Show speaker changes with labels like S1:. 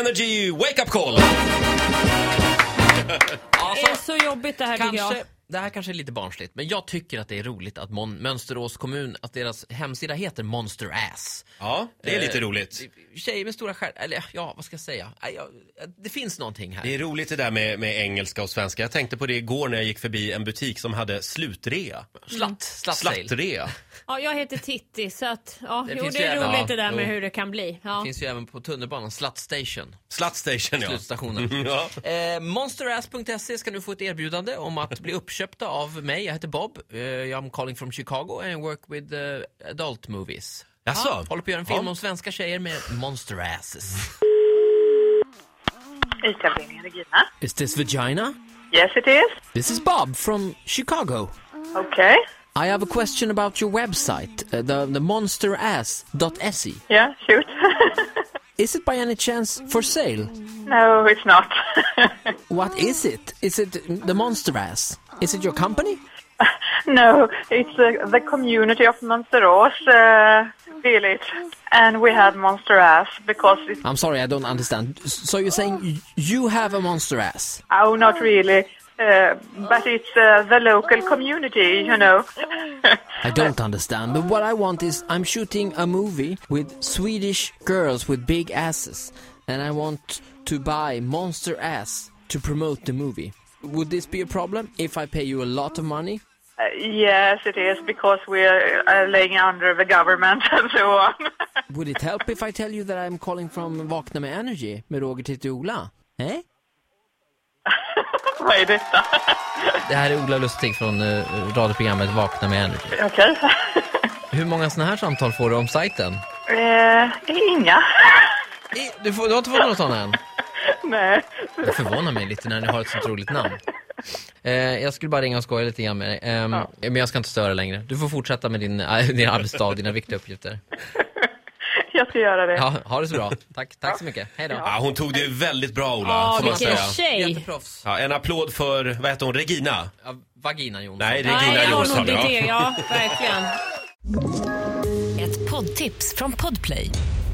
S1: Energy Wake Up Call!
S2: Det är så jobbigt det här tycker jag.
S3: Alltså, Kanske, det här kanske är lite barnsligt, men jag tycker att det är roligt att Mon- Mönsterås kommun, att deras hemsida heter Monster Ass.
S1: Ja, det är lite
S3: Eh,
S1: roligt.
S3: Tjejer med stora stjärnor, eller ja, vad ska jag säga? Nej, jag- Det finns någonting här.
S1: Det är roligt det där med, med engelska och svenska. Jag tänkte på det igår när jag gick förbi en butik som hade slutrea.
S3: Slatt, Mm. slatt, sale.
S1: Slattrea.
S2: Ja, jag heter Titti så att, ja,
S3: Det
S2: jo,
S3: finns
S2: det är
S3: ju även-
S2: roligt
S3: ja,
S2: det där med
S3: jo.
S2: hur det kan bli.
S3: Det
S2: Ja.
S3: finns ju även på tunnelbanan, Slatt Station,
S1: Sluttstation ja. Mm,
S3: slutstationen.
S1: ja.
S3: Eh, Monsterass.se ska nu få ett erbjudande om att bli uppköpta av mig. Jag heter Bob, eh, I'm calling from Chicago and work with eh, adult movies.
S1: Jaså?
S3: Håller på att göra en film om svenska tjejer med monster asses.
S4: ICA-avdelningen Regina.
S3: Is this vagina?
S4: Yes it is.
S3: This is Bob from Chicago.
S4: Okay.
S3: I have a question about your website, uh, the, the monsterass.se.
S4: Yeah, shoot.
S3: E. Is it by any chance for sale?
S4: no, it's not.
S3: What is it? Is it the monster ass? Is it your company?
S4: no, it's uh, the community of Monsteros uh, village. And we had Monster Ass because it's,
S3: I'm sorry, I don't understand. S- So you're saying y- you have a monster ass?
S4: oh, not really. Uh, but it's uh, the local community, you know.
S3: I don't understand. But what I want is I'm shooting a movie with Swedish girls with big asses, and I want to buy monster ass to promote the movie. Would this be a problem if I pay you a lot of money?
S4: Uh, yes, it is because we're uh, laying under the government and so on.
S3: Would it help if I tell you that I'm calling from Vakna med Energy med Roger Titti Ola? Eh?
S4: Vad är detta?
S3: Det här är Ola Lustig från eh, radioprogrammet Vakna med Energy.
S4: Okej.
S3: Hur många sådana här samtal får du om sajten?
S4: Eh, inga.
S3: Du, får, du har inte fått några sådana än?
S4: Nej.
S3: Det förvånar mig lite när ni har ett sånt roligt namn. Eh, jag skulle bara ringa och skoja lite grann med dig. Ehm, Men jag ska inte störa längre. Du får fortsätta med din, eh, din arbetsdag och dina viktiga uppgifter.
S4: Jag ska göra det.
S3: Ja, ha det så bra. Tack, tack så mycket. Hej då.
S1: Ja, hon tog det väldigt bra Ola,
S2: Ja,
S1: får man säga.
S2: vilken tjej!
S3: Jätteproffs.
S1: Ja, en applåd för, vad heter hon, Regina?
S3: Ja, Vagina Jonsson.
S1: Nej, det är Regina
S2: Nej, jag har
S1: Jonsson.
S2: nog
S1: ja.
S2: det, ja, verkligen.
S5: Ett poddtips från Podplay.